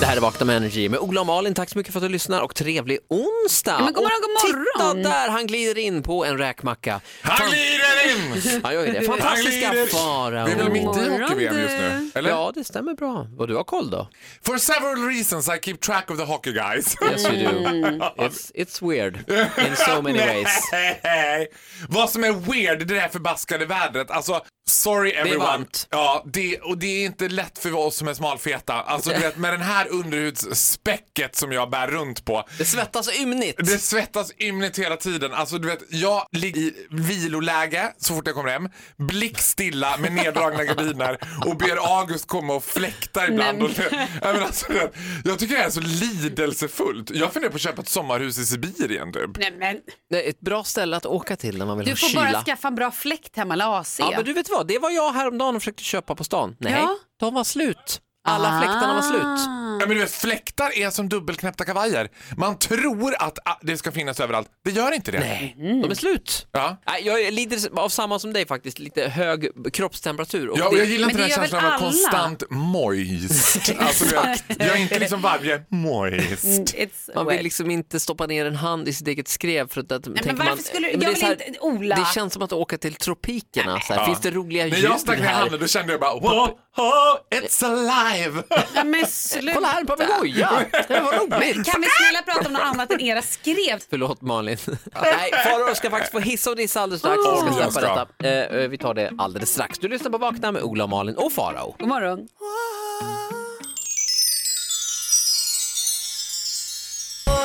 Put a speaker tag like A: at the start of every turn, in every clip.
A: Det här är Vakna med Energy med Ola och Malin. Tack så mycket för att du lyssnar och trevlig onsdag!
B: Ja, men god morgon,
A: och
B: god
A: titta
B: morgon.
A: där, han glider in på en räkmacka.
C: Han glider in!
A: Han gör ju det.
C: Han
A: Fantastiska
C: glider.
A: Farao.
C: Vi är väl mitt i
B: morgon,
C: hockey-VM just nu? Eller?
A: Ja, det stämmer bra. Och du har koll
B: Mm.
A: då?
C: For several reasons I keep track of the hockey guys.
A: Yes you do. It's, it's weird in so many ways.
C: Nej. Vad som är weird, det här förbaskade vädret. Alltså, sorry everyone.
A: varmt.
C: Ja, det, och det är inte lätt för oss som är smalfeta. Alltså, du vet, med den här underhudsspäcket som jag bär runt på.
A: Det svettas ymnigt.
C: Det svettas ymnigt hela tiden. Alltså, du vet, jag ligger i viloläge så fort jag kommer hem, blickstilla med neddragna gardiner och ber August komma och fläkta ibland.
B: Nej,
C: Och, jag, men alltså, du vet, jag tycker det är så lidelsefullt. Jag funderar på att köpa ett sommarhus i Sibirien typ.
B: Nej, men,
A: Det är ett bra ställe att åka till när man vill
B: du
A: ha
B: får
A: kyla.
B: bara skaffa en bra fläkt hemma, eller AC.
A: Ja, men du vet vad, det var jag häromdagen och försökte köpa på stan. Nej,
B: Ja. Ah.
A: de var slut. Alla fläktarna var slut.
C: Ja, men du vet, fläktar är som dubbelknäppta kavajer. Man tror att ah, det ska finnas överallt. Det gör inte det.
A: Nej,
B: Mm.
A: de är slut.
C: Ja.
A: Nej, jag är lite av samma som dig faktiskt, lite hög kroppstemperatur. Och
C: Ja, och jag gillar
B: Men
C: inte
B: det
C: den här
B: gör väl
C: känslan av att vara
B: alla?
C: konstant moist. Alltså, du vet, jag är inte liksom varje moist.
B: It's
A: man
B: wet.
A: vill liksom inte stoppa ner en hand i sitt eget skrev för att, att
B: Nej,
A: tänker
B: men
A: man,
B: varför skulle du...
A: men
B: Jag
A: det är
B: vill
A: så här-
B: inte... Ola.
A: Det känns som att åka till tropikerna. så här,
C: Ja.
A: Finns det roliga
C: När
A: djur
C: jag stack ner
A: här?
C: handen då kände jag bara oh, oh, it's alive!
B: Ja, men sluta.
A: Kolla här, en papegoja! Det var roligt!
B: Kan vi snälla prata om något annat än era skrev?
A: Förlåt Malin. Nej, Farao ska faktiskt få hissa och dissa alldeles strax. Vi ska
C: jag
A: släppa
C: ska.
A: detta. Eh, eh, vi tar det alldeles strax. Du lyssnar på Vakna med Ola, Malin och Farao.
B: God morgon.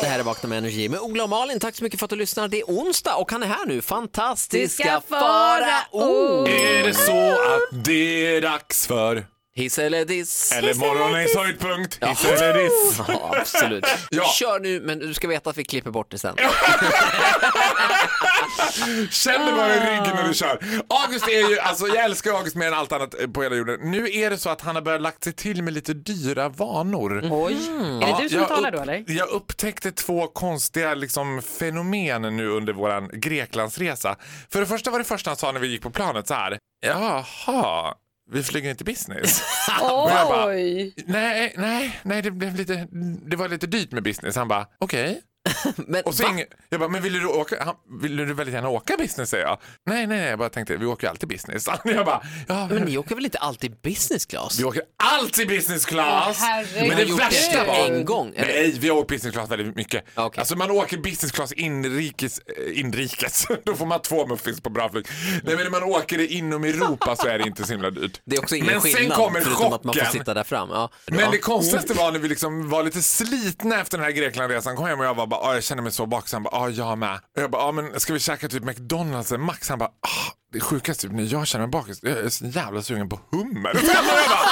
A: Det här är Vakna med Energy med Ola och Malin. Tack så mycket för att du lyssnar. Det är onsdag och han är här nu. Fantastiska
B: Du ska fara
A: Farao!
B: o.
C: är det så att det är dags för
A: Hiss eller diss?
C: eller morgonens höjdpunkt? Hiss eller diss?
A: Ja, absolut.
C: Ja.
A: Kör nu, men du ska veta att vi klipper bort det sen.
C: Känn dig bara i ryggen
B: Ah.
C: när du kör. August är ju, alltså jag älskar August mer än allt annat eh, på hela jorden. Nu är det så att han har börjat lagt sig till med lite dyra vanor.
B: Mm. Oj. Är det du som
C: jag
B: talar
C: upp-
B: då eller?
C: Jag upptäckte två konstiga liksom, fenomen nu under våran Greklandsresa. För det första var det första han sa när vi gick på planet så här. Jaha, vi flyger inte business.
A: Ah,
C: Och jag bara,
B: Oj.
C: nej, nej, nej, det blev lite, det var lite dyrt med business. Han bara, okej.
A: Men,
C: Och så ing- jag bara, men vill du åka? Han, vill du väldigt gärna åka business? säger jag. Nej, nej, nej, jag bara tänkte, vi åker ju alltid business. Jag bara, ja,
A: men ni åker väl inte alltid business class?
C: vi åker alltid business class.
B: Åh, herregud.
C: men
B: Har
C: det
B: ni gjort
C: värsta
B: det
C: var...
A: en gång, eller?
C: Nej, vi har åkt business class väldigt mycket.
A: Ja, okej.
C: Alltså man åker business class inrikes, eh, inrikes. då får man två muffins på bra flyg. Nej men när man åker det inom Europa så är det inte så himla dyrt.
A: Det är också ingen
C: men sen
A: skillnad,
C: kommer
A: förutom
C: chocken.
A: att man får sitta där fram. Ja.
C: Men
A: ja.
C: det konstigaste var när vi liksom var lite slitna efter den här Greklandresan. Kom hem och jag var bara, "Ah, jag känner mig så bakis. Han bara, ja jag med. Och jag bara, ja men ska vi käka typ McDonalds eller Max? Han bara, ah, det sjukaste typ när jag känner mig bakis, jag är så jävla sugen på hummer. Och jag bara,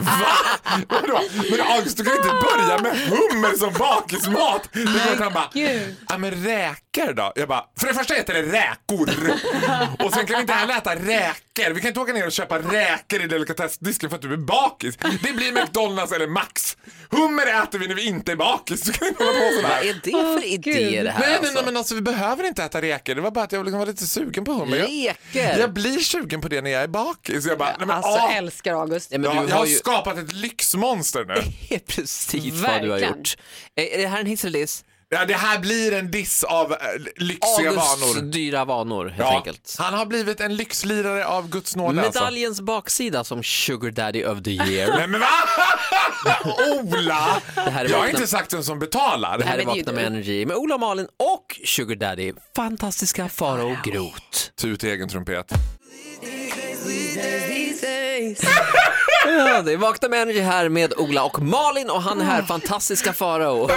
C: Va? Vadå? Men August du kan ju inte börja med hummer som bakismat. Det är klart han bara,
B: Gud.
C: ja men räkor då? Jag bara, för det första heter det räkor. Och sen kan vi inte heller äta räkor. Vi kan inte åka ner och köpa räkor i delikatessdisken för att du är bakis. Det blir McDonalds eller Max. Hummer äter vi när vi inte är bakis. Du kan inte hålla på
A: Vad
C: sådär.
A: är det för idé det här
C: Nej, nej,
A: alltså?
C: nej men alltså vi behöver inte äta räkor. Det var bara att jag liksom var lite sugen på hummer. Jag,
A: Räkor?
C: jag blir sugen på det när jag är bakis. Jag bara, nej, men,
B: Alltså
C: ah.
B: älskar August.
A: Nej, men
C: Ja,
A: du
C: jag har
A: har ju...
C: skapat ett lyxmonster nu.
A: Det är precis vad du har
B: Verkligen.
A: gjort. Är är det här en hiss eller diss?
C: Ja, det här blir en diss av eh, lyxiga
A: Augusts
C: vanor.
A: dyra vanor helt
C: Ja,
A: enkelt.
C: han har blivit en lyxlirare av guds nåde alltså.
A: Medaljens baksida som Sugar Daddy of the year.
C: Nej men va? Ola!
A: här är
C: Jag har
A: vakna-
C: inte sagt vem som betalar.
A: Det här är
B: men det är ju
A: Vakna
B: du.
A: med Energy med Ola Malin och Sugar Daddy. Fantastiska Farao Groth.
C: Tut i egen trumpet.
A: Ja, det är Vakna med Energy här med Ola och Malin och han är här, fantastiska Farao.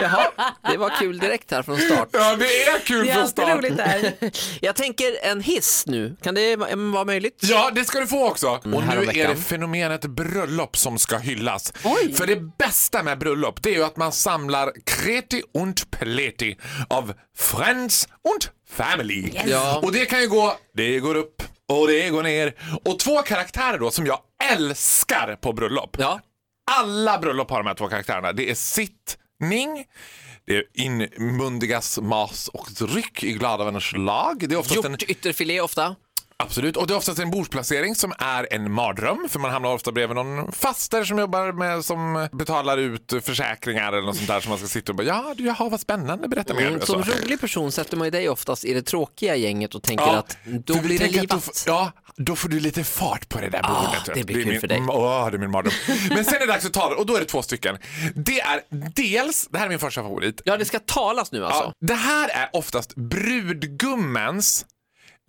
A: Jaha, det var kul direkt här från start.
C: Ja det är kul
B: Det är
C: från
B: alltid
C: start.
B: roligt där.
A: Jag tänker en hiss nu, kan det mm, vara möjligt?
C: Ja, det ska du få också. Och nu är
A: häromveckan.
C: det fenomenet bröllop som ska hyllas. För det bästa med bröllop det är ju att man samlar kreti und pleti av friends und Family.
A: Ja.
C: Och det kan ju gå, det går upp och det går ner. Och två karaktärer då som jag älskar på bröllop.
A: Ja.
C: Alla bröllop har de här två karaktärerna. Det är sittning, det är inmundigas mas och dryck i glada vänners lag. Det är oftast en,
A: Gjort ytterfilé ofta.
C: absolut, och det är oftast en bordsplacering som är en mardröm för man hamnar ofta bredvid någon faster som jobbar med som betalar ut försäkringar eller något sånt där som man ska sitta och bara ja, du, jaha vad spännande, berätta mer.
A: Mm,
C: Och
A: som
C: så.
A: rolig person sätter man ju dig oftast i det tråkiga gänget och tänker att
C: för
A: då
C: vi
A: blir det
C: tänker att Då,
A: livat.
C: f- ja, då får du lite fart på det där
A: Ah,
C: bordet. vet du.
A: det blir
C: är
A: kul
C: min,
A: för dig.
C: Mm, Åh, det är min mardröm. Men sen är det dags att tala och då är det två stycken. Det är dels, det här är min första favorit.
A: Ja, det ska talas nu alltså.
C: Ja, det här är oftast brudgummens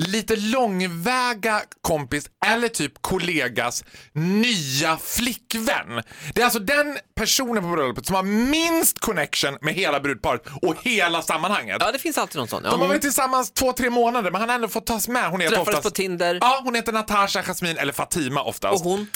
C: lite långväga kompis eller typ kollegas nya flickvän. Det är alltså den personen på bröllopet som har minst connection med hela brudparet och hela sammanhanget.
A: Ja, det finns alltid någon sån. Ja.
C: De har varit tillsammans två, tre månader men han har ändå fått tas med. Hon heter
A: Träffades
C: oftast...
A: på Tinder.
C: Ja, hon heter Natasha, Jasmine eller Fatima
A: Och
C: oftast. Hon...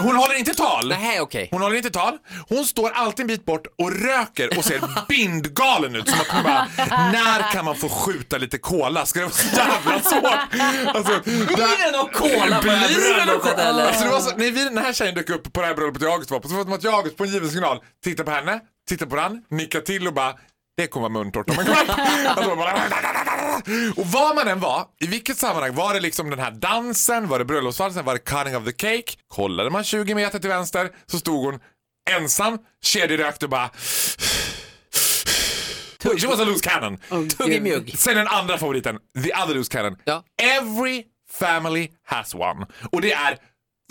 A: hon?
C: håller inte tal.
A: Nej, okej.
C: Hon håller inte tal. Hon står alltid en bit bort och röker och ser bindgalen ut. Som att hon bara, när kan man få skjuta lite cola? Ska det vara så jävla svårt? Alltså,
A: Blir det någon cola på det här
C: Blir det någon
A: bröllopet,
C: cola?
A: eller?
C: Alltså, det var så, när, vi, när den här tjejen dök upp på det här bröllopet jag August var på så var det som att jag August på en given signal tittar på henne, tittar på den, nickar till och bara det kommer vara muntert om en kvart. Alltså, man bara- Och var man än var, i vilket sammanhang, var det liksom den här dansen, var det bröllopsvalsen, var det cutting of the cake? Kollade man 20 meter till vänster så stod hon ensam, kedjerökt och bara... She was a loose cannon.
A: Tugg i mjugg.
C: Sen den andra favoriten, the other loose cannon.
A: Ja.
C: Every family has one. Och det är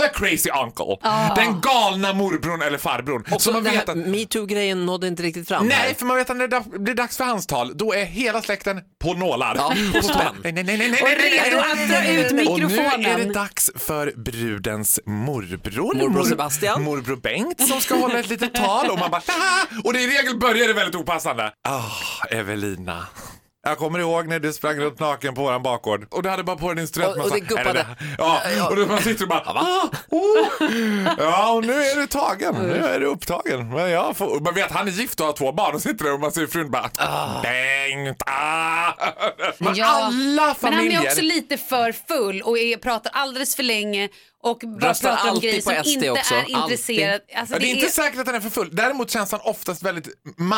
C: the crazy uncle. Den galna morbrorn eller farbrorn.
A: Och
C: som man
A: den
C: vet
A: här
C: att...
A: metoo-grejen nådde inte riktigt fram
C: Nej,
A: här.
C: för man vet att när det da- blir dags för hans tal, då är hela släkten på nålar.
A: Ja,
C: och
A: på
C: så
A: spänn.
C: nej, nej, nej, nej, nej,
B: Och
C: nej, nej,
B: redo
C: nej,
B: att dra ut
C: nej. Och nu är det
B: mikrofonen.
C: dags för brudens morbror.
A: Morbror
C: mor-
A: Sebastian.
C: Morbror Bengt som ska hålla ett litet tal och man bara Haha! Och det i regel börjar det väldigt opassande. Ah, Evelina. Jag kommer ihåg när du sprang runt naken på våran bakgård och du hade bara på dig din
A: Och- och
C: studentmössa.
A: det guppade.
C: Eller Ja, och då man sitter och bara ah, oh. Ja, och nu är du tagen. Nu
B: Mm.
C: är du upptagen. Men jag får, och man vet, han är gift och har två barn och sitter där och man ser frun bara Bengt, ah. Men alla
B: Men han
C: familjer.
B: är också lite för full och är, pratar alldeles för länge och bara
A: Röstar
B: pratar om
A: alltid
B: grejer
A: på
B: som
A: SD
B: inte
A: också.
B: är intresserad. Alltså,
C: Ja, det är inte säkert att han är för full. Däremot känns han oftast väldigt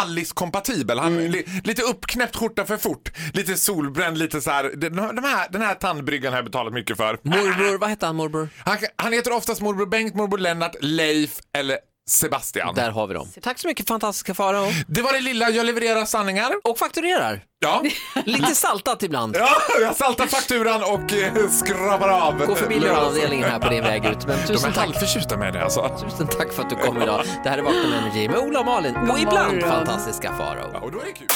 C: Mallis-kompatibel. Han
B: Mm.
C: är li, lite uppknäppt skjorta för fort, lite solbränd, lite så här. Den, de här, den här tandbryggan har jag betalat mycket för.
A: Morbror, vad hette han morbror?
C: Han, han heter oftast morbror Bengt, morbror Lennart, Leif eller Sebastian.
A: Där har vi dem. Tack så mycket fantastiska Farao.
C: Det var det lilla, jag levererar sanningar.
A: Och fakturerar.
C: Ja,
A: Lite saltat ibland.
C: ja jag saltar fakturan och eh, skrapar av. Eh,
A: Gå förbi löneavdelningen här på din väg ut. Men
C: De är
A: tusen tack.
C: halvförtjusta med det alltså.
A: Tusen tack för att du kom idag. Det här är Vakna med Energy med Ola och Malin och ibland
B: morgon.
A: fantastiska Farao.
C: Ja, och då är det kul.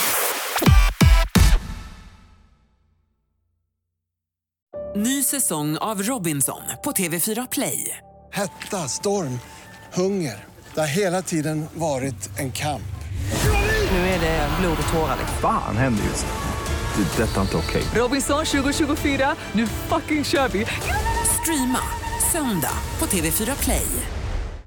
D: Ny säsong av Robinson på TV4 Play.
E: Hetta, storm, hunger. Det har hela tiden varit en kamp.
D: Nu är det blod och tårar.
F: Fan händer just det. Det är detta inte okej.
D: Robinson 2024, nu fucking kör vi! Streama söndag på TV4 Play.